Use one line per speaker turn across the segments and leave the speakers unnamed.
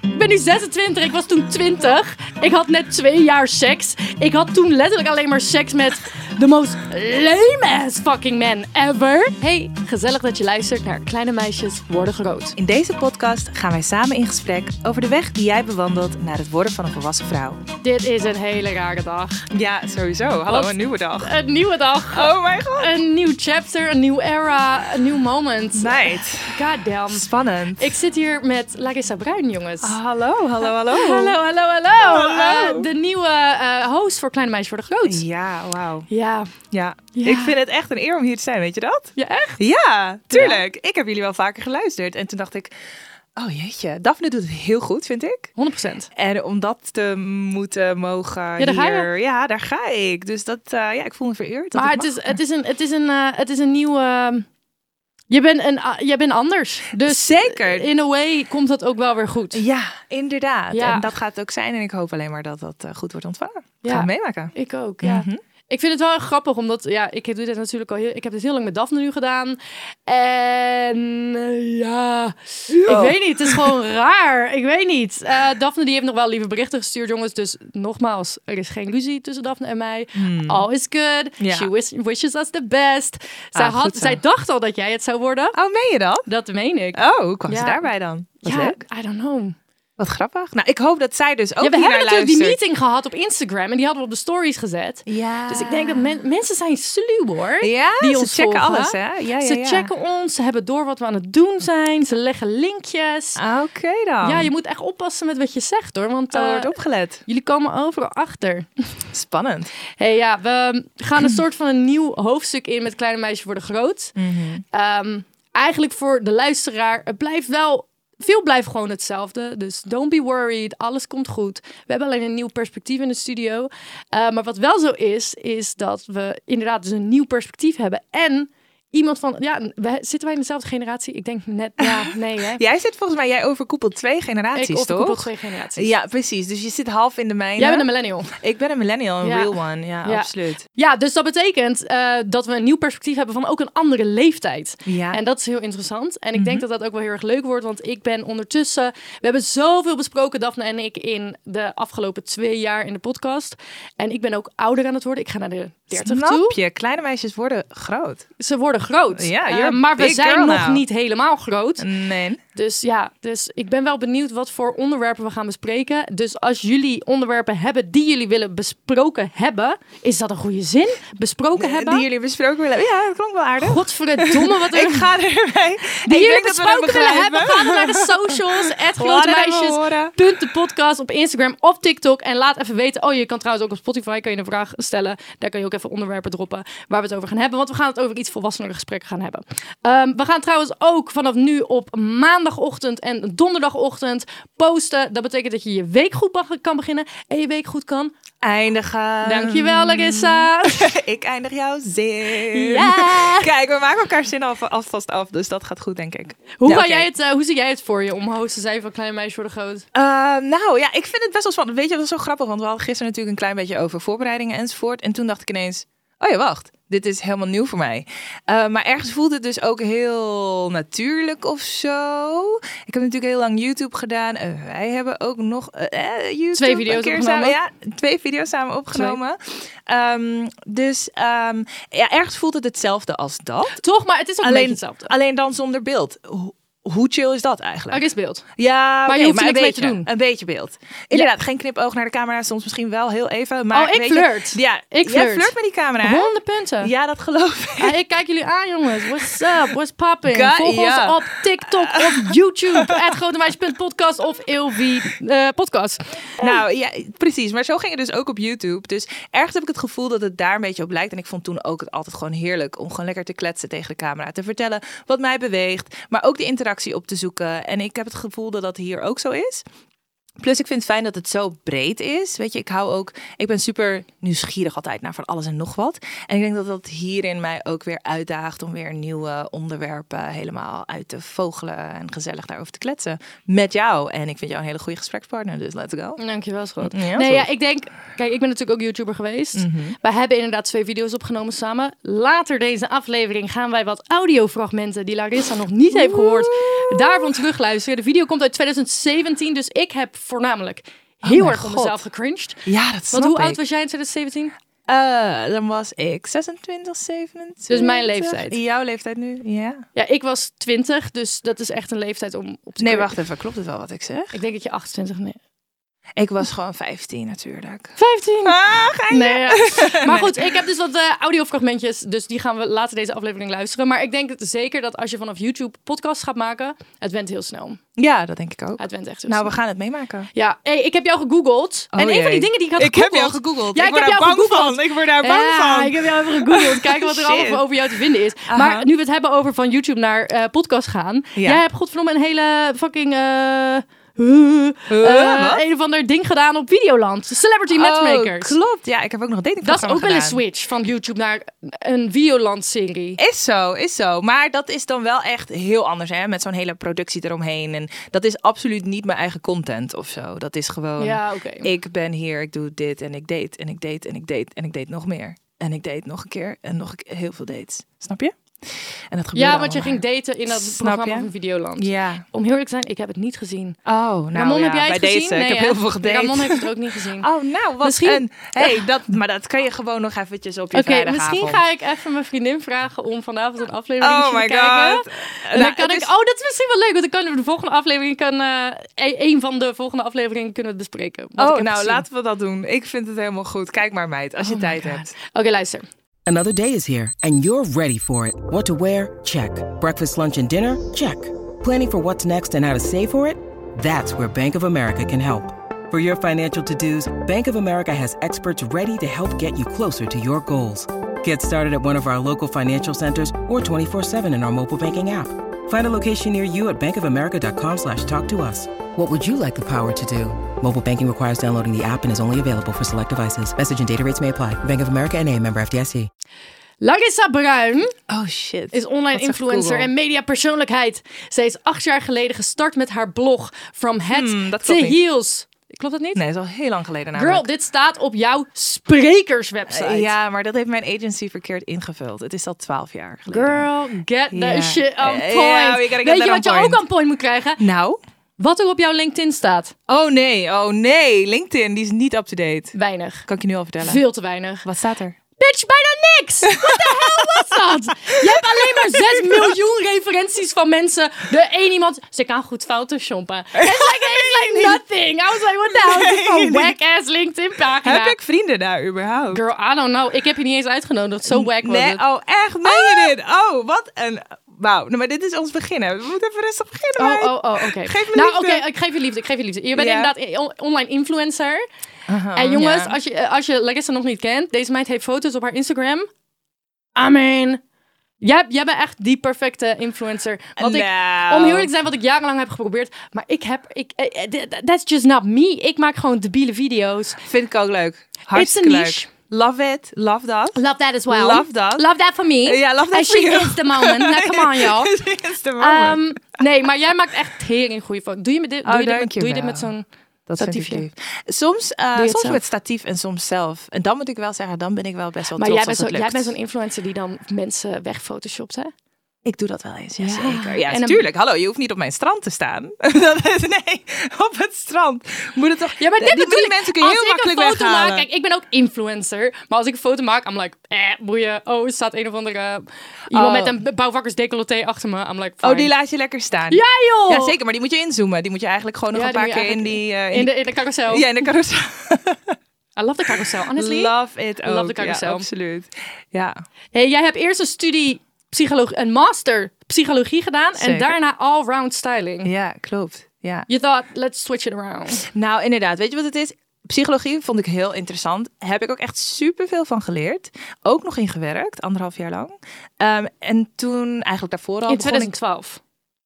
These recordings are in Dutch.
Ik ben nu 26, ik was toen 20. Ik had net twee jaar seks. Ik had toen letterlijk alleen maar seks met de most lame ass fucking man ever. Hey, gezellig dat je luistert naar Kleine Meisjes Worden Groot.
In deze podcast gaan wij samen in gesprek over de weg die jij bewandelt naar het worden van een volwassen vrouw.
Dit is een hele rare dag.
Ja, sowieso. Hallo,
Wat?
een nieuwe dag.
Een nieuwe dag.
Oh mijn god.
Een nieuw chapter, een nieuw era, een nieuw moment.
Meid.
Goddamn.
Spannend.
Ik zit hier met Larissa Bruin, jongens.
Hallo, hallo, hallo.
Hallo, hallo, hallo.
Hallo.
Eh, de nieuwe eh, host voor Kleine Meisjes Worden Groot.
Ja, wauw.
Ja.
Ja.
Ja.
Ik vind het echt een eer om hier te zijn, weet je dat?
Ja, echt?
Ja, tuurlijk. Ik heb jullie wel vaker geluisterd. En toen dacht ik, oh jeetje, Daphne doet het heel goed, vind ik.
100%.
En om dat te moeten mogen
Ja, daar ga je.
hier, ja, daar ga ik. Dus dat, eh, ja, ik voel me vereerd. dat
Maar
ik
het
mag.
is, het is een, het is een, eh, het is een nieuwe. ehm, je bent een, a- je bent anders. Dus
Zeker.
in a way komt dat ook wel weer goed.
Ja, inderdaad.
Ja.
En dat gaat het ook zijn. En ik hoop alleen maar dat dat eh, goed wordt ontvangen.
Ja.
Gaan we meemaken.
Ik ook. Ja.
Mhm.
Ik vind het wel grappig, omdat ja, ik doe dit natuurlijk al. Heel, ik heb dit heel lang met Daphne nu gedaan. En eh, ja,
Oh.
ik weet niet. Het is gewoon raar. Ik weet niet. Eh Daphne die heeft nog wel lieve berichten gestuurd, jongens. Dus nogmaals, er is geen ruzie tussen Daphne en mij. All is good.
Hmm. Ja.
She wish- wishes us the best. Zij,
Ah,
had,
goed zo.
zij dacht al dat jij het zou worden.
Oh, meen je dat?
Dat meen ik.
Oh, hoe kwam
Ja.
ze daarbij dan? Wat
ja,
leuk.
I don't know.
Wat grappig. Nou, ik hoop dat zij dus ook
ja, we
hiernaar
hebben natuurlijk die
luistert.
meeting gehad op Instagram en die hadden we op de stories gezet.
Ja.
Dus ik denk dat men- mensen zijn sluw hoor.
Ja,
die
ze
ons
checken
volgen.
alles, hè? Ja, ja,
ze
ja.
checken ons, ze hebben door wat we aan het doen zijn, ze leggen linkjes.
Oké dan.
Ja, je moet echt oppassen met wat je zegt hoor, want
Oh,
eh,
wordt opgelet.
jullie komen overal achter.
Spannend.
hey, ja, we gaan een soort van een nieuw hoofdstuk in met Kleine Meisjes Worden Groot.
Mhm.
Ehm, eigenlijk voor de luisteraar, het blijft wel... Veel blijft gewoon hetzelfde. Dus don't be worried. Alles komt goed. We hebben alleen een nieuw perspectief in de studio. Eh, maar wat wel zo is, is dat we inderdaad dus een nieuw perspectief hebben. En iemand van... Ja, we, zitten wij in dezelfde generatie? Ik denk net... Ja, nee hè?
Jij zit volgens mij, jij overkoepelt twee generaties,
ik
toch?
overkoepel twee generaties.
Ja, precies. Dus je zit half in de mijne.
Jij bent een millennial.
Ik ben een millennial, een
Ja.
real one. Ja,
Ja.
absoluut.
Ja, dus dat betekent eh, dat we een nieuw perspectief hebben van ook een andere leeftijd.
Ja. Mhm.
En dat is heel interessant. En ik denk dat dat ook wel heel erg leuk wordt, want ik ben ondertussen... We hebben zoveel besproken, Daphne en ik, in de afgelopen twee jaar in de podcast. En ik ben ook ouder aan het worden. Ik ga naar de 30
Snap
toe.
je? Kleine meisjes worden groot.
Ze worden groot.
Ja,
Eh,
you're a
maar we
big
zijn
girl
nog
now.
niet helemaal groot.
Nee.
Dus ja, dus ik ben wel benieuwd wat voor onderwerpen we gaan bespreken. Dus als jullie onderwerpen hebben die jullie willen besproken hebben... Is dat een goede zin? Besproken hebben?
Die jullie besproken willen hebben. Ja, dat klonk wel aardig.
Godverdomme, wat een...
Ik ga erbij.
Die
ik
jullie
denk dat we hem
besproken willen hebben,
begrijpen.
ga dan naar de socials. at
Laat
grote
het even
meisjes.
horen.
Punt de podcast op Instagram, op TikTok. En laat even weten. Oh, je kan trouwens ook op Spotify kan je een vraag stellen. Daar kan je ook even onderwerpen droppen waar we het over gaan hebben. Want we gaan het over iets volwassenere gesprekken gaan hebben. Ehm, we gaan trouwens ook vanaf nu op maandagochtend en donderdagochtend posten. Dat betekent dat je je week goed mag- kan beginnen. En je week goed kan.
Eindigen.
Dankjewel, Larissa.
Ik eindig jouw zin.
Ja.
Kijk, we maken elkaar zin al, alvast af, dus dat gaat goed, denk ik.
Hoe,
Ja,
ga
oké.
jij het, eh, hoe zie jij het voor je om host te zijn van Kleine Meisjes voor de Groot?
Eh, nou ja, ik vind het best wel spannend. Weet je, dat is zo grappig, want we hadden gisteren natuurlijk een klein beetje over voorbereidingen enzovoort. En toen dacht ik ineens, oh ja, wacht, dit is helemaal nieuw voor mij. Eh, maar ergens voelde het dus ook heel natuurlijk of zo. Ik heb natuurlijk heel lang YouTube gedaan. Eh, wij hebben ook nog eh, eh, YouTube
Twee video's
een keer
opgenomen.
Samen, ja, twee video's samen opgenomen. Ehm, dus ehm, ja, ergens voelt het hetzelfde als dat.
Toch, maar het is ook een beetje
Alleen,
hetzelfde.
alleen dan zonder beeld. Hoe, hoe chill is dat eigenlijk?
Er is beeld.
Ja,
Maar je
oké,
hoeft er
een
niks mee te
beetje,
doen.
Een beetje beeld. Inderdaad, geen knipoog naar de camera, soms misschien wel heel even. Maar
Oh, ik
weet je-
flirt.
ja,
Ik
Jij
flirt.
flirt met die camera. hè?
Honderd punten.
Ja, dat geloof ik.
Ah, ik kijk jullie aan, jongens. What's up? What's poppin'?
Ga-
Volg
ja.
ons op TikTok, op YouTube, at grotemeisje.podcast of Ilvi eh, podcast.
Nou, ja, precies. Maar zo ging het dus ook op YouTube. Dus ergens heb ik het gevoel dat het daar een beetje op lijkt. En ik vond toen ook het altijd gewoon heerlijk om gewoon lekker te kletsen tegen de camera. Te vertellen wat mij beweegt. Maar ook de interactie interactie op te zoeken. En ik heb het gevoel dat dat hier ook zo is. Plus, ik vind het fijn dat het zo breed is. Weet je, ik hou ook. Ik ben super nieuwsgierig altijd naar van alles en nog wat. En ik denk dat dat hierin mij ook weer uitdaagt om weer nieuwe onderwerpen helemaal uit te vogelen en gezellig daarover te kletsen. Met jou. En ik vind jou een hele goede gesprekspartner, dus let's go.
Dankjewel, schat.
Ja,
nee,
sorry. Mhm.
ja, ik denk... Kijk, ik ben natuurlijk ook YouTuber geweest. Wij hebben inderdaad twee video's opgenomen samen. Later deze aflevering gaan wij wat audiofragmenten... die Larissa nog niet heeft gehoord, daarvan terugluisteren. De video komt uit 2017, dus ik heb voornamelijk heel
Oh mijn
erg om
God.
mezelf gecringed.
Ja, dat snap
Want hoe
ik.
oud was jij in 2017?
Eh, dan was ik 26, 27.
Dus mijn leeftijd.
Jouw leeftijd nu, ja.
Ja, ik was 20, dus dat is echt een leeftijd om op te
Nee,
cringen.
wacht even. Klopt het wel wat ik zeg?
Ik denk dat je 28... Nee.
Ik was gewoon 15 natuurlijk.
15!
Ah, ga
Nee, ja. maar goed, ik heb dus wat eh, audiofragmentjes, dus die gaan we later deze aflevering luisteren. Maar ik denk dat zeker dat als je vanaf YouTube podcasts gaat maken, het went heel snel.
Ja, dat denk ik ook.
Het went echt heel
Nou, we
snel.
gaan het meemaken. Oh,
Ja, hey, ik heb jou gegoogeld. en dus- een
jee.
van die dingen die ik had
Ik heb
gegoogeld...
jou gegoogeld.
Ja,
ik,
ik,
word
heb
daar
jou
bang
gegoogeld.
van. Ik word daar bang
Ja,
van.
ik heb jou even gegoogeld. Kijken wat er
Shit.
allemaal over jou te vinden is.
Aha.
Maar nu we het hebben over van YouTube naar eh, podcast gaan.
Ja.
Jij hebt godverdomme een hele fucking... eh, eh,
wat?
een of ander ding gedaan op Videoland. Celebrity Matchmakers.
Oh, klopt. Ja, ik heb ook nog een
Dat is
datingprogramma
ook wel een
gedaan.
switch van YouTube naar een Videoland-serie.
Is zo, is zo. Maar dat is dan wel echt heel anders, hè? Met zo'n hele productie eromheen. En dat is absoluut niet mijn eigen content of zo. Dat is gewoon...
Ja, oké.
Oh. Ik ben hier, ik doe dit en ik date en ik date en ik date en ik date nog meer. En ik date nog een keer en nog een keer, heel veel dates. Snap je? En dat gebeurde
Ja, want je
allemaal.
ging daten in dat
Snap
programma
je?
van Videoland.
Ja.
Om heel eerlijk te zijn, ik heb het niet gezien.
Oh, nou
Ramon,
ja,
heb jij
bij
het
deze.
gezien?
ik heb
hè?
heel veel gedate.
Ramon heeft het ook niet gezien.
Oh, nou, wat
Misschien-
een... Hey, dat, maar dat kan je gewoon nog eventjes op je
Oké,
vrijdagavond.
misschien ga ik even mijn vriendin vragen om vanavond een aflevering
Oh
te
my
kijken.
god.
En dan
Nou,
kan
het
ik,
is-
oh, dat is misschien wel leuk, want dan kunnen we de volgende aflevering, kan, eh, e-, een van de volgende afleveringen kunnen we het bespreken. wat ik
Oh,
heb
nou,
gezien.
laten we dat doen. Ik vind het helemaal goed. Kijk maar, meid, als je tijd hebt.
Oké, luister.
Another day is here, and you're ready for it. What to wear? Check. Breakfast, lunch, and dinner? Check. Planning for what's next and how to save for it? That's where Bank of America can help. For your financial to dos, Bank of America has experts ready to help get you closer to your goals. Get started at one of our local financial centers or 24-7 in our mobile banking app. Find a location near you at bankofamerica.com slash talk to us. What would you like the power to do? Mobile banking requires downloading the app and is only available for select devices. Message and data rates may apply. Bank of America and a member FDIC.
Larissa Bruin
Oh, shit.
is online
Wat zegt
influencer
Google?
en mediapersoonlijkheid. Zij is acht jaar geleden gestart met haar blog From Head
Hmm, dat
to
klopt niet.
Heels. Klopt dat niet?
Nee, dat is al heel lang geleden namelijk.
Girl, dit staat op jouw sprekerswebsite.
Ja, maar dat heeft mijn agency verkeerd ingevuld. Het is al twaalf jaar geleden.
Girl, get the
Ja.
shit on point.
Ja, we gotta get
Weet
that
je
on
wat je
point.
ook aan point moet krijgen?
Nou?
Wat er op jouw LinkedIn staat.
Oh nee, oh nee. LinkedIn, die is niet up-to-date.
Weinig.
Kan ik je nu al vertellen?
Veel te weinig.
Wat staat er?
Bitch, bijna niks. Wat de hel was dat? Je hebt alleen maar 6 miljoen referenties van mensen. De één iemand, ze kan goed photoshoppen. It's like, it's like nothing. I was like, what the hell is
Nee.
dit voor whack-ass LinkedIn pagina?
Heb ik vrienden daar überhaupt?
Girl, I don't know. Ik heb je niet eens uitgenodigd. Zo wack was
nee,
het. Ah!
oh echt? Meen je dit? Oh, wat een... Wauw, nou, maar dit is ons begin. hè. We moeten even rustig beginnen.
Oh,
meid.
oh, oh, oké.
Geef me
nou,
liefde.
oké, ik geef je liefde, ik geef je liefde. Je bent
Ja.
inderdaad i- on- online influencer. en jongens,
ja.
als, je, eh, als je Larissa nog niet kent, deze meid heeft foto's op haar Instagram. Amen. Jij, jij bent echt die perfecte influencer. Wat ik,
Nou.
om heel eerlijk te zijn, wat ik jarenlang heb geprobeerd. Maar ik heb... Ik, eh, eh, th- that's just not me. Ik maak gewoon debiele video's.
Vind ik ook leuk. Hartstikke
niche.
leuk. Love it, love that.
Love that as well.
Love that.
Love that for me.
Ja, love that
And
for
she
you.
is the moment. Nou, come on, y'all.
Dit is de moment.
Ehm, nee, maar jij maakt echt tering goede foto's. Doe je, met dit,
Oh,
doe je, dit, met, doe je
dankjewel.
dit met zo'n...
Dat
Statiefje.
vind ik lief. Soms, eh,
je het
soms
zelf.
met statief en soms zelf. En dan moet ik wel zeggen, dan ben ik wel best wel
Maar
trots
jij bent,
als
zo,
het
jij
lukt.
bent zo'n influencer die dan mensen wegphotoshopt, hè?
Ik doe dat wel eens, ja,
Ja.
zeker. Ja,
En dan-
natuurlijk. Hallo, je hoeft niet op mijn strand te staan. Dat is- nee, op het strand. Moet het toch... Eh,
Ja, maar dit
die,
bedoel
die
ik.
mensen kun je
als
heel
ik
makkelijk
een foto
weghalen.
maak, kijk, ik ben ook influencer. Maar als ik een foto maak, I'm like, eh, boeien. Oh, er staat een of andere iemand
Oh.
met een bouwvakkers decolleté achter me. I'm like, fine.
oh, die laat je lekker staan.
Ja, joh!
Ja, zeker. Maar die moet je inzoomen. Die moet je eigenlijk gewoon nog
Ja,
een paar
die moet
keer
je
in die...
eigenlijk-
eh,
in, de, in de carousel.
Ja, in de carousel.
I love the carousel, honestly.
Love it
Love
ook.
the
ja,
carousel.
absoluut. Ja.
Hey, jij hebt eerst een studie psychologie, een master psychologie gedaan. En
Zeker.
daarna all-round styling.
ja, klopt. Ja.
You thought, let's switch it around.
Nou, inderdaad. Weet je wat het is? Psychologie vond ik heel interessant. Heb ik ook echt superveel van geleerd. Ook nog in gewerkt, anderhalf jaar lang. Ehm, en toen eigenlijk daarvoor al
In
begon ik...
2012.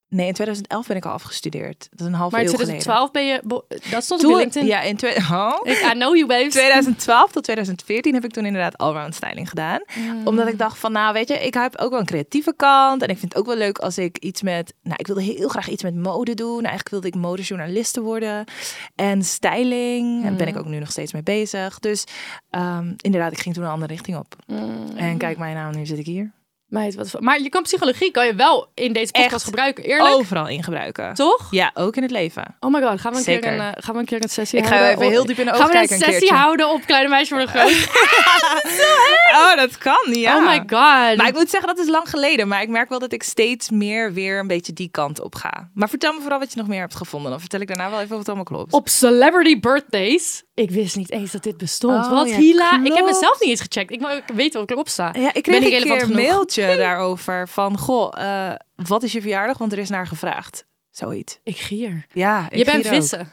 Nee, in 2011 ben ik al afgestudeerd. Dat is een half
Maar in
eeuw
2012 ben je... bo- Dat stond op
geleden.
je
Toen,
LinkedIn.
ja, in twee- oh.
Ik, I know you, babes.
2012 tot 2014 heb ik toen inderdaad allround styling gedaan. Omdat ik dacht van, nou weet je, ik heb ook wel een creatieve kant. En ik vind het ook wel leuk als ik iets met... Nou, ik wilde heel graag iets met mode doen. Nou, eigenlijk wilde ik modejournaliste worden. En styling. En daar ben ik ook nu nog steeds mee bezig. Dus ehm, inderdaad, ik ging toen een andere richting op. En kijk mij nou, nu zit ik hier.
Meid, wat voor- Maar je kan psychologie kan je wel in deze podcast
Echt. Oh.
gebruiken. Eerlijk,
Overal in gebruiken.
toch?
Ja, ook in het leven.
Oh my god, gaan we een, keer
Zeker.
een, eh, gaan we een keer een sessie
Ik ga
houden?
even
op-
heel diep in de
Gaan
ogen
we een
kijken een
sessie
keertje.
houden op Kleine Meisje voor de Groot?
Oh, dat kan, ja.
Oh my god.
Maar ik moet zeggen, dat is lang geleden. Maar ik merk wel dat ik steeds meer weer een beetje die kant op ga. Maar vertel me vooral wat je nog meer hebt gevonden. Dan vertel ik daarna wel even of het allemaal klopt.
op celebrity birthdays. Ik wist niet eens dat dit bestond.
Oh,
Wat
ja,
hila. Ik heb
klopt.
mezelf niet eens gecheckt. Ik wil weten wat erop staat.
Ja,
Ben
ik kreeg
ik
een
relevant
keer een
genoeg?
mailtje daarover van... Goh, eh, wat is je verjaardag? Want er is naar gevraagd. Zoiets.
Ik gier.
Ja, ik
Je bent
hier ook.
vissen.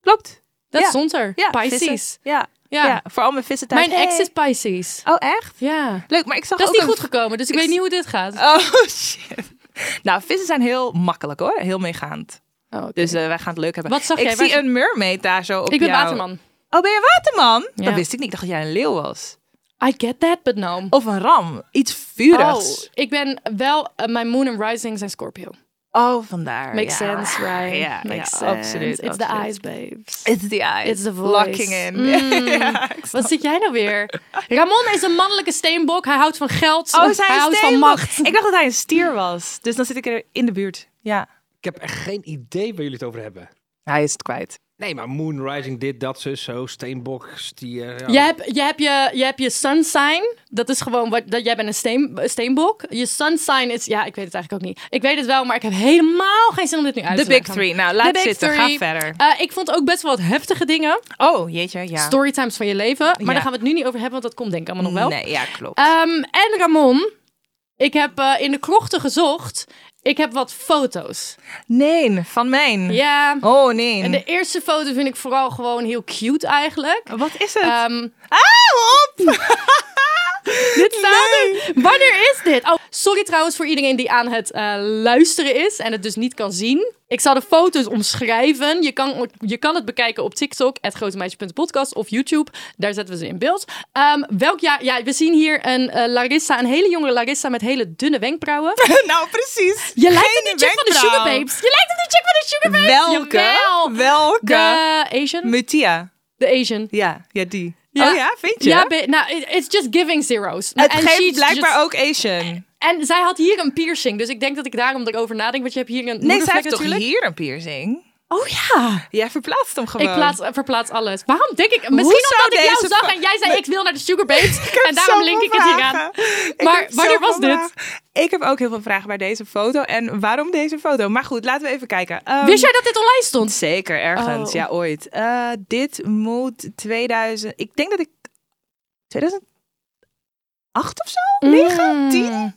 Klopt.
Dat
Ja.
stond er.
Ja,
Pisces.
vissen. Ja,
Ja.
ja. voor al mijn vissen thuis.
Mijn ex
Hey.
is Pisces.
Oh, echt?
Ja.
Leuk, maar ik zag
Dat is
ook
niet
een-
goed gekomen, dus ik,
Ik-
weet niet hoe dit gaat.
Oh, shit. Nou, vissen zijn heel makkelijk hoor. Heel meegaand.
Oh, oké.
Dus eh, wij gaan het leuk hebben.
Wat zag
ik
jij? Waar
zie
zag-
een mermaid daar zo op
ik ben
jou.
waterman.
Oh, ben je waterman?
Ja.
Dat wist ik niet. Ik dacht dat jij een leeuw was.
I get that, but no.
Of een ram. Iets
Oh,
vurigs.
ik ben wel... eh, mijn moon and rising zijn Scorpio.
Oh, vandaar.
Makes
Ja.
sense, right?
Ja,
Makes
ja,
sense.
absoluut.
It's the
absoluut.
eyes, babes.
It's the eyes.
It's the voice.
Locking in. Oh,
Mm.
Ja, ik snap
Wat zit jij nou weer? Ramon is een mannelijke steenbok. Hij houdt van geld.
het.
hij houdt van macht.
Ik dacht dat hij een stier was. Dus dan zit ik er in de buurt. Ja.
Ik heb echt geen idee waar jullie het over hebben.
Hij is het kwijt.
Nee, maar Moon Rising, dit, dat, zus, zo, steenbok, stier. Ja.
Je hebt je, hebt je, je, hebt je sun sign. Dat is gewoon wat. Dat, jij bent een steen, steenbok. Je sun sign is. Ja, ik weet het eigenlijk ook niet. Ik weet het wel, maar ik heb helemaal geen zin om dit nu uit
The
te
big
leggen.
three. Nou, laat
The big
zitten.
three.
Ga verder.
Eh, ik vond ook best wel wat heftige dingen.
Oh, jeetje, ja.
Storytimes van je leven. Maar
Ja.
daar gaan we het nu niet over hebben, want dat komt denk ik allemaal nog wel.
Nee, ja, klopt.
Ehm, en Ramon, ik heb eh, in de krochten gezocht. Ik heb wat foto's.
nee, van mijn.
Ja.
Oh, nee.
En de eerste foto vind ik vooral gewoon heel cute eigenlijk.
Wat is het?
Ehm,
ah, op!
dit staat er. Wanneer is dit? Oh, sorry trouwens voor iedereen die aan het eh, luisteren is en het dus niet kan zien. Ik zal de foto's omschrijven. Je kan, je kan het bekijken op TikTok, het grotemeisje.podcast of YouTube. Daar zetten we ze in beeld. Ehm, welk jaar? Ja, we zien hier een eh, Larissa, een hele jonge Larissa met hele dunne wenkbrauwen.
nou, precies.
Je lijkt op
Geen
die chick van de
wenkbrauw.
Sugar Babes. Je lijkt op die chick van de Sugar Babes.
Welke?
Jawel.
Welke?
De Asian?
Mutia.
De Asian.
Ja, ja, die. Oh ja, vind je?
Ja, be- nou, it- it's just giving zeros.
het
En
geeft
she's
blijkbaar
just-
ook Asian.
En zij had hier een piercing, dus ik denk dat ik daarom erover nadenk. Want je hebt hier een
Nee, zij
moedervlek
heeft toch
natuurlijk.
hier een piercing?
Oh ja.
Jij verplaatst hem gewoon.
Ik plaats, eh, verplaats alles. Waarom denk ik? Misschien
Hoe zou
omdat ik jou
deze
zag
vrouw-
en jij zei
Nee.
ik wil naar de Sugar Babes.
heb
en daarom
zoveel
link ik het hier
vragen.
aan.
Ik
Maar
heb
wanneer was
zoveel
dit?
vragen. Ik heb ook heel veel vragen bij deze foto. En waarom deze foto? Maar goed, laten we even kijken. Ehm,
Wist jij dat dit online stond?
Zeker, ergens.
Oh.
Ja, ooit. Eh, dit moet 2000... Ik denk dat ik... 2008 of zo?
Mm.
9? 10?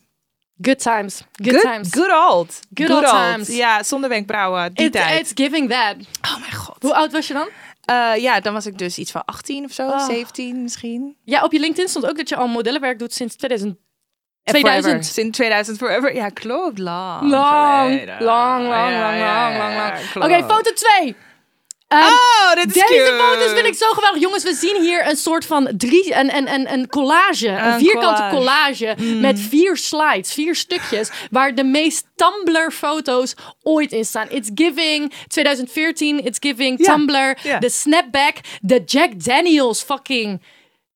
Good times. Good, times.
Good old.
Good old times.
Ja, zonder wenkbrauwen. Die
It-
tijd.
it's giving that.
Oh mijn god.
Hoe oud was je dan?
Eh, ja, dan was ik dus iets van 18 of zo.
Oh.
17 misschien.
Ja, op je LinkedIn stond ook dat je al modellenwerk doet sinds 2000.
En forever.
2000.
Sinds 2000 forever. Ja, klopt. Lang.
Lang,
geleden.
lang, lang,
Ja,
lang,
ja,
lang, lang,
ja,
lang. Oké,
klopt.
foto 2. Ehm,
Oh, dit is
Deze
cute.
foto's vind ik zo geweldig. Jongens, we zien hier een soort van drie, een, een, een, een collage. Een,
Een
vierkante
collage. Mm.
collage met vier slides, vier stukjes. Waar de meest Tumblr foto's ooit in staan. It's giving 2014, It's giving
Ja,
Tumblr.
ja.
De snapback, de Jack Daniels fucking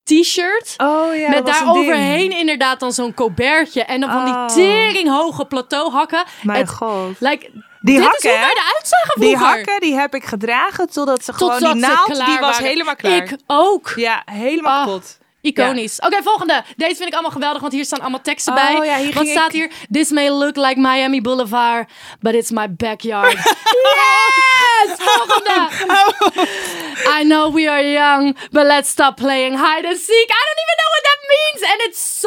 t-shirt.
Oh ja,
Met
dat was
daar
een ding.
overheen inderdaad dan zo'n colbertje. En dan van die
Oh.
teringhoge plateauhakken.
Mijn
Het-
god.
Like,
Die
dit
hakken,
is hoe
hè?
wij eruit zagen
Die
vroeger.
hakken die heb ik gedragen totdat ze gewoon
Totdat
die
ze
naald
klaar
die was
waren.
helemaal klaar.
Ik ook.
Ja, helemaal
Ah,
kapot.
Iconisch. Oké, volgende. Deze vind ik allemaal geweldig, want hier staan allemaal teksten
Oh,
bij.
ja, hier
Wat
ging
staat
ik-
hier? This may look like Miami Boulevard, but it's my backyard. yes! Volgende.
Oh.
I know we are young, but let's stop playing hide and seek. I don't even know what that means. And it's so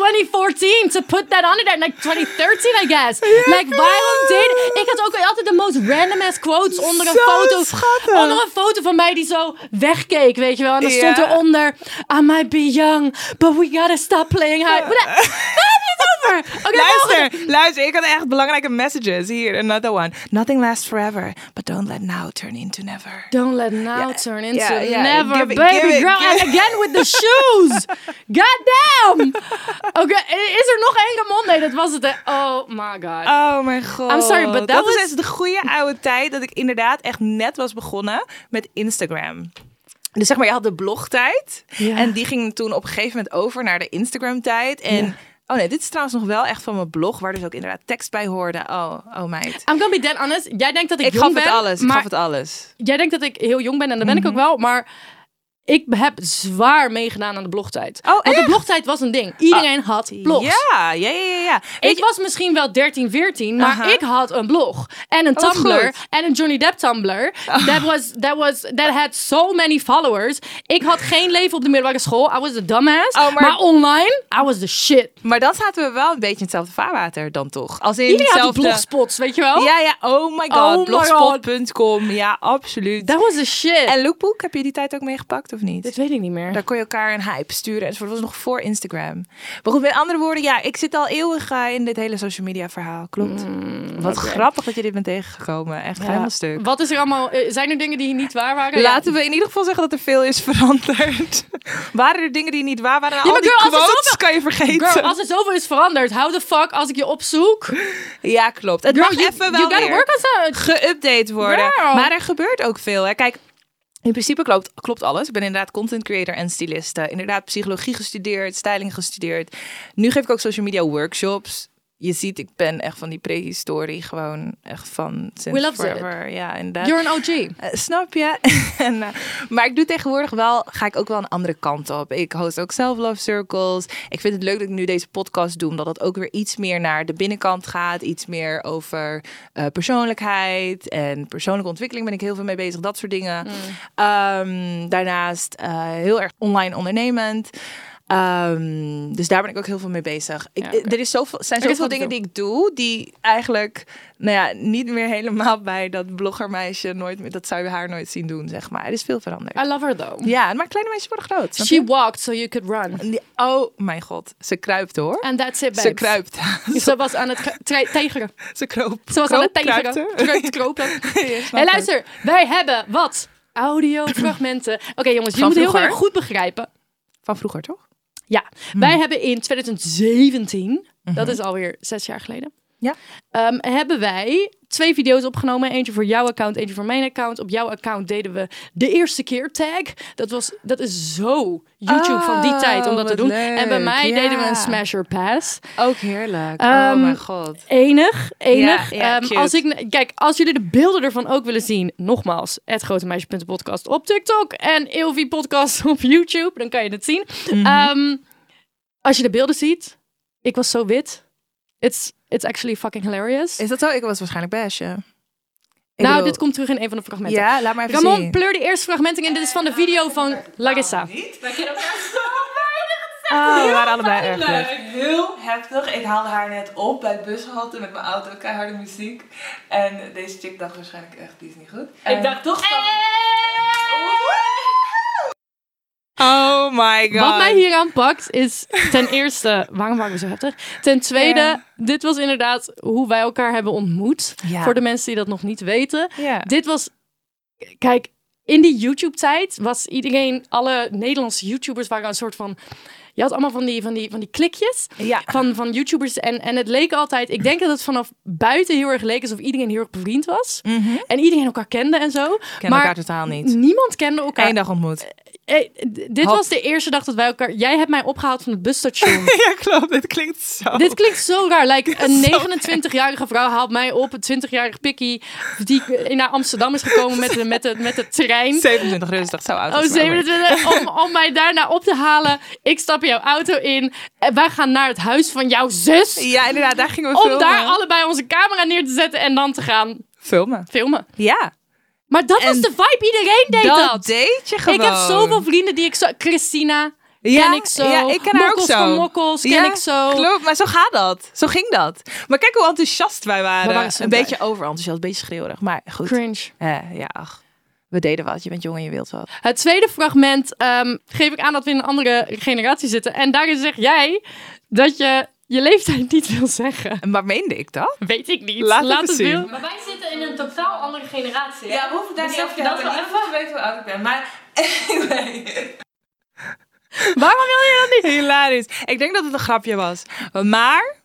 2014 to put that on it. And like 2013, I guess. like, waarom dit? Ik had ook altijd de most random ass quotes onder een
Zo
foto.
schattig.
Onder een foto van mij die zo wegkeek, weet je wel. En dan
Ja.
stond eronder, I might be young, but we gotta stop playing hide. Wat heb je het over? over? Oké, volgende.
Luister, luister, ik had echt belangrijke messages. Hier, another one. Nothing lasts forever, but don't let now turn into never.
Don't let now turn into
ja, ja,
never,
give it-
baby
give it-
girl.
give
And
it.
again with the shoes. Goddamn. Oké, is er nog één Ramon? Nee, dat was het. hè. Oh my god.
Oh mijn god.
I'm sorry, but that
dat
was-
is de goede oude tijd dat ik inderdaad echt net was begonnen met Instagram. Dus zeg maar, je had de blogtijd.
Ja.
En die ging toen op een gegeven moment over naar de Instagram-tijd. En oh nee, dit is trouwens nog wel echt van mijn blog, waar dus ook inderdaad tekst bij hoorde. Oh, oh meid.
I'm gonna be dead honest. Jij denkt dat ik,
Ik
jong
gaf
ben.
het alles, ik
maar
gaf het Mhm. alles.
Jij denkt dat ik heel jong ben en dat ben ik ook wel, maar ik heb zwaar meegedaan aan de blogtijd.
Oh,
Want de
echt? Ah.
blogtijd was een ding. Iedereen had blogs.
Ja, ja, ja, ja, ja.
Ik was misschien wel 13, 14, maar
Aha.
ik had een blog en een
wat
Tumblr
goed. Ah.
en een Johnny Depp Tumblr. That was that was that had so many followers. Ik had geen leven op de middelbare school. I was a dumbass.
Oh,
maar...
maar-
online, I was the shit.
Maar dan zaten we wel een beetje in hetzelfde vaarwater dan toch? Als in
Iedereen had
hetzelfde...
die blogspots, weet je wel?
Ja, ja, oh my
Oh my
god, blogspot.com. Ja, absoluut.
That was the shit.
En Lookbook, heb je die tijd ook meegepakt of niet?
Dit weet ik niet meer.
Daar kon je elkaar een hype sturen enzovoort. Dat was nog voor Instagram. Maar goed, met andere woorden, ja, ik zit al eeuwig eh, in dit hele social media verhaal. Klopt.
Mm,
Wat grappig dat je dit bent tegengekomen. Echt helemaal stuk.
Wat is er allemaal? eh, Zijn er dingen die niet waar waren?
Laten we in ieder geval zeggen dat er veel is veranderd. waren er dingen die niet waar waren?
Ja,
al
maar
die
girl, als er
quotes
zoveel-
kan je vergeten.
Girl, als er zoveel is veranderd, how the fuck als ik je opzoek?
Ja, klopt. Het
Girl,
mag
you,
even
you
wel
gotta
weer
work on that.
geüpdate worden.
Girl.
Maar er gebeurt ook veel. Hè. Kijk, in principe klopt, klopt alles. Ik ben inderdaad content creator en styliste. Inderdaad psychologie gestudeerd, styling gestudeerd. Nu geef ik ook social media workshops. Je ziet, ik ben echt van die prehistorie. Gewoon echt van sinds
We love
forever. Ja, inderdaad.
You're an OG.
Eh, snap je? en, eh, maar ik doe tegenwoordig wel, ga ik ook wel een andere kant op. Ik host ook zelf Love Circles. Ik vind het leuk dat ik nu deze podcast doe, omdat het ook weer iets meer naar de binnenkant gaat. Iets meer over eh, persoonlijkheid en persoonlijke ontwikkeling ben ik heel veel mee bezig, dat soort dingen. Ehm, daarnaast eh, heel erg online ondernemend. Ehm, dus daar ben ik ook heel veel mee bezig. Ik, eh,
oké.
Er is zoveel, zijn
Er is
zoveel
wat te
dingen die ik doe die eigenlijk nou ja, niet meer helemaal bij dat bloggermeisje nooit meer, dat zou je haar nooit zien doen, zeg maar. Er is veel veranderd.
I love her though.
Ja, maar kleine meisjes worden groot. snap
Oh. She
je?
walked so you could run.
Die- Oh mijn god, ze kruipt hoor.
And that's it, babes.
ze kruipt.
Ze was aan het kru- tre- tegeren.
ze kroopt.
Ze was aan het tegeren. Kruipt, kropen. En luister, wij hebben wat? Audiofragmenten. Oké jongens, je
Van
moet heel
vroeger? Hmm.
erg goed begrijpen.
Van vroeger toch?
Ja, wij hebben in 2017, dat is alweer zes jaar geleden,
Mhm. Ja.
ehm, hebben wij twee video's opgenomen. Eentje voor jouw account, eentje voor mijn account. Op jouw account deden we de eerste keer tag. Dat, was, dat is zo YouTube van die tijd om dat
Oh,
te
wat
doen. en bij
leuk,
mij deden we
ja.
een smasher pass.
Ook heerlijk.
Ehm,
oh mijn god.
Enig, enig.
Ja, ja,
Ehm,
cute.
als ik, kijk, als jullie de beelden ervan ook willen zien, nogmaals, het grote meisje.podcast op TikTok en Ilvi podcast op YouTube, dan kan je het zien.
Mhm.
Ehm, als je de beelden ziet, ik was zo wit. It's, it's actually fucking hilarious.
Is dat zo? Ik was waarschijnlijk bash. ja. Ik
nou,
bedoel-
dit komt terug in een van de fragmenten.
Ja, laat maar even
Ramon,
zien.
pleur de eerste fragmenting en dit is van de video van Larissa.
Oh, we waren allebei erg leuk. Heel heftig. Ik haalde haar net op bij het bushalte met mijn auto. Keiharde muziek. En deze chick dacht waarschijnlijk echt, die is niet goed. ik dacht toch Oh my god.
Wat mij hier aanpakt is ten eerste, waarom waren we zo heftig? Ten tweede,
Ja.
dit was inderdaad hoe wij elkaar hebben ontmoet.
Ja.
Voor de mensen die dat nog niet weten.
Ja.
Dit was, kijk, in die YouTube-tijd was iedereen, alle Nederlandse YouTubers waren een soort van... Je had allemaal van die, van die, van die klikjes
Ja.
van, van YouTubers. En, en het leek altijd, ik denk dat het vanaf buiten heel erg leek alsof iedereen heel erg bevriend was. En iedereen elkaar kende en zo.
Kennen
maar
Mhm. elkaar totaal niet.
Niemand kende elkaar.
Eén dag ontmoet.
Hey, Eh, d- dit
Had-
was de eerste dag dat wij elkaar. Jij hebt mij opgehaald van het busstation.
Ja, klopt. Dit klinkt zo.
dit klinkt zo raar. Like, een 29-jarige vrouw haalt mij op, een 20-jarig pikkie die eh, naar Amsterdam is gekomen met de, met de, met de trein.
27 rustig, zo oud.
Oh,
als mij, maar-
27, om, om mij daarna op te halen. Ik stap in jouw auto in. En wij gaan naar het huis van jouw zus.
Ja, inderdaad. Daar gingen we
Om
filmen.
daar allebei onze camera neer te zetten en dan te gaan
Filmen.
filmen.
Ja.
Maar dat was
En
de vibe. Iedereen deed dat.
deed je gewoon.
Ik heb zoveel vrienden die ik zo... Christina
Ja,
ken ik zo.
Ja, ik ken haar
Mokkels
ook zo.
van Mokkels ken ik zo.
Klopt, maar zo gaat dat. Zo ging dat. Maar kijk hoe enthousiast wij waren.
We waren zo
een
blij.
beetje overenthousiast, een beetje schreeuwerig. Maar goed.
Cringe.
Eh, ja, ach. We deden wat. Je bent jong en je wilt wat.
Het tweede fragment ehm, geef ik aan dat we in een andere generatie zitten. En daarin zeg jij dat je je leeftijd niet wil zeggen.
Maar meende ik dat?
Weet ik niet.
Laat het eens zien.
wel-
Maar wij zitten in een totaal andere generatie. hè?
we hoeven daar
niet over te hebben. Niemand
weet hoe oud ik ben. Maar
Waarom wil je dat niet?
Hilarisch. Ik denk dat het een grapje was. Maar...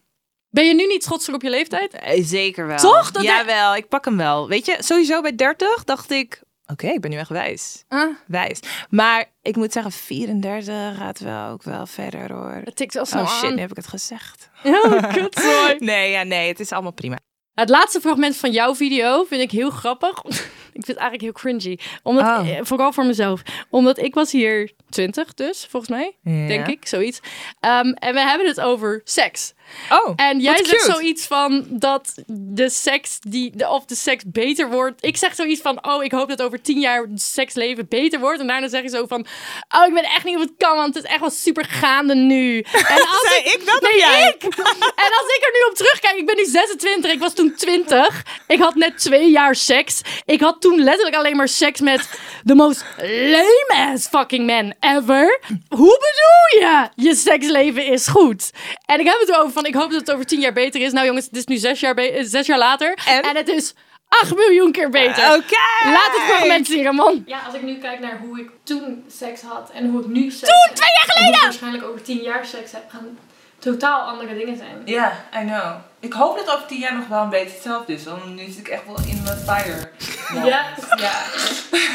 Ben je nu niet trotser op je leeftijd?
Eh, Zeker wel.
Toch? Dat-
Jawel, ik pak hem wel. Weet je, sowieso bij 30 dacht ik... Oké, ik ben nu echt wijs.
Ah.
Wijs. Maar ik moet zeggen, 34 gaat wel ook wel verder hoor.
Het tikt wel snel
Oh shit,
aan.
nu heb ik het gezegd.
Oh, kutzooi.
Nee, ja, nee, het is allemaal prima.
Het laatste fragment van jouw video vind ik heel grappig. ik vind het eigenlijk heel cringy. Omdat,
Oh.
eh, Vooral voor mezelf. Omdat ik was hier 20 dus, volgens mij. Denk ik, zoiets. Ehm, en we hebben het over seks.
Oh,
En jij
wat
zegt
cute.
zoiets van dat de seks die de, of de seks beter wordt. Ik zeg zoiets van oh, ik hoop dat over tien jaar het seksleven beter wordt. En daarna zeg je zo van oh, ik weet echt niet of het kan, want het is echt wel super gaande nu. En als
Zei ik dat of
nee,
jij?
ik. En als ik er nu op terugkijk, ik ben nu 26, ik was toen 20. Ik had net twee jaar seks. Ik had toen letterlijk alleen maar seks met de most lame ass fucking man ever. Hoe bedoel je? Je seksleven is goed. En ik heb het erover van, ik hoop dat het over tien jaar beter is. Nou jongens, het is nu zes jaar, be- eh, zes jaar later. En?
En?
het is acht miljoen keer beter.
Oké.
Laat het fragment zien, man.
Ja, als ik nu kijk naar hoe ik toen seks had en hoe ik nu seks
Toen,
heb,
twee jaar
en hoe ik
geleden!
waarschijnlijk over tien jaar seks heb, gaan totaal andere dingen zijn.
Ja, I know. Ik hoop dat over tien jaar nog wel een beetje hetzelfde is. Want nu zit ik echt wel in mijn fire.
Ja.
Ja.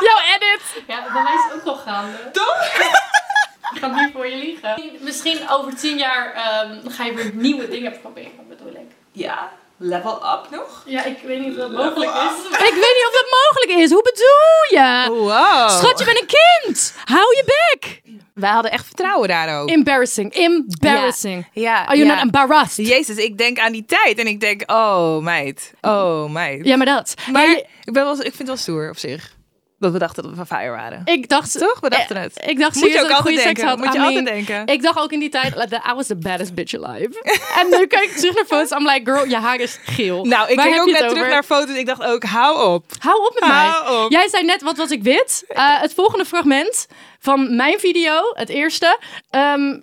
Jouw edit.
Ja, bij mij is het ook wel gaande. Toch? Ik ga niet voor je liegen. Misschien over tien jaar ehm, ga je weer nieuwe dingen proberen, bedoel ik.
Ja, level up nog.
Ja, ik weet niet of dat mogelijk is.
Ik weet niet of dat mogelijk is. Hoe bedoel je?
Wow.
Oh.
Schat, je bent een kind. Hou je bek.
wij hadden echt vertrouwen daar ook.
Embarrassing. Embarrassing.
Ja.
Are you
ja.
not embarrassed?
Jezus, ik denk aan die tijd en ik denk, oh meid, oh meid.
Ja, maar dat.
Maar
Hey,
ik, ben wel, ik vind het wel stoer op zich. Dat we dachten dat we van fire waren.
ik dacht...
Toch? We dachten
Eh,
het.
Ik dacht
Moet je
serieus
ook
dat ik goede
altijd
seks
denken.
had.
Moet je
I mean,
altijd denken.
Ik dacht ook in die tijd, like, I was the baddest bitch alive. en nu kijk ik terug naar foto's, I'm like, girl, je haar is geel.
Nou, ik
Waar
keek
heb
ook
je het
net terug
over?
naar foto's. Ik dacht ook, hou op.
Hou op met mij.
Hou op.
Jij zei net, wat was ik wit? Eh, het volgende fragment van mijn video, het eerste, ehm,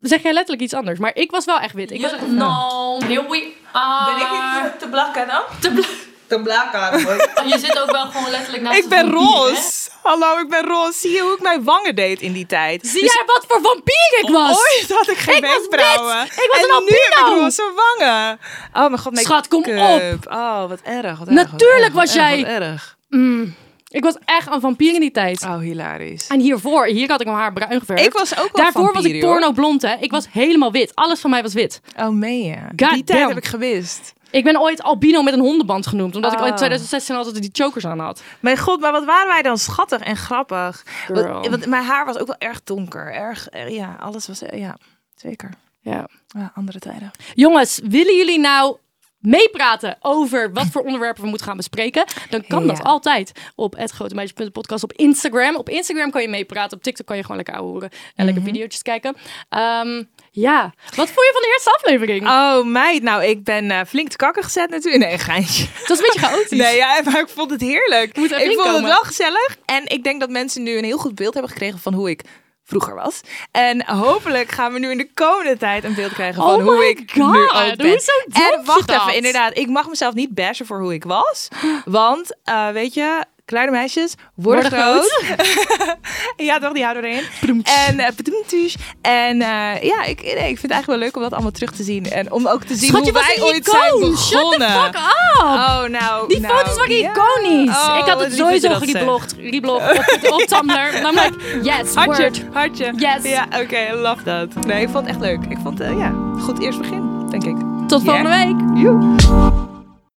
zeg jij letterlijk iets anders. Maar ik was wel echt wit. Ik was echt nou,
You know, here we are.
Ben ik niet te blakken dan?
Te bla-
Te blakken, hoor.
Je zit ook wel gewoon letterlijk naast
Ik ben
een vampier, hè?
roze. Hallo, ik ben roze. Zie je hoe ik mijn wangen deed in die tijd?
Zie jij wat voor vampier ik was?
Ooit had ik geen
Ik was
wenkbrauwen.
wit. Ik was
en
een
nu heb ik
albino.
roze wangen. Oh mijn god, make-up.
Schat, kom op.
Oh, wat erg. Wat
Natuurlijk
erg, wat
was
erg,
jij-
Wat erg.
Mm. Ik was echt een vampier in die tijd.
Oh, hilarisch.
En hiervoor, hier had ik mijn haar bruin geverfd.
Ik was ook wel
Daarvoor was ik
vampier, hoor.
porno blond, hè. Ik was helemaal wit. Alles van mij was wit.
Oh, meen je?
damn.
die tijd heb ik gewist.
Ik ben ooit albino met een hondenband genoemd. Omdat ik
Ah.
in 2016 altijd die chokers aan had.
Mijn god, maar wat waren wij dan schattig en grappig. Want,
Girl.
want mijn haar was ook wel erg donker. Erg, eh, ja, alles was, eh, ja, zeker.
Ja.
Ja, andere tijden.
Jongens, willen jullie nou meepraten over wat voor onderwerpen we moeten gaan bespreken? Dan kan dat
Ja.
altijd op hetgrotemeisje.podcast op Instagram. Op Instagram kan je meepraten. Op TikTok kan je gewoon lekker horen en lekker
Mhm.
video's kijken. Ehm, ja, wat vond je van de eerste aflevering?
Oh, meid, nou, ik ben eh, flink te kakken gezet natuurlijk. Nee, geintje.
Dat is een beetje chaotisch.
Nee, ja, maar ik vond het heerlijk.
Moet even
ik vond
inkomen.
het wel gezellig. En ik denk dat mensen nu een heel goed beeld hebben gekregen van hoe ik vroeger was. En hopelijk gaan we nu in de komende tijd een beeld krijgen van
Oh
hoe
my
ik
God,
nu ook ben.
hoezo doe je
en wacht
dat?
even, inderdaad. Ik mag mezelf niet bashen voor hoe ik was. Want, eh, weet je, kleine meisjes worden,
Worden
groot. ja, toch, die houden we erin. En, eh, padoemtuus. en eh, ja, ik, nee, ik vind het eigenlijk wel leuk om dat allemaal terug te zien. En om ook te zien
Schat, je
hoe
was
wij
een
ooit zijn
icoon.
begonnen.
Shut the fuck up!
Oh, nou.
Die
nou,
foto's waren
ja.
iconisch.
Oh,
ik had
wat
het
lief dat je
sowieso
dat zegt.
gereblogd, reblogd op, op Tumblr. En I'm like, yes, word.
Hartje, hartje.
Yes.
Ja, oké, love dat. Nee, ik vond het echt leuk. Ik vond, eh, ja, goed eerst begin, denk ik.
Tot volgende week.
Joe.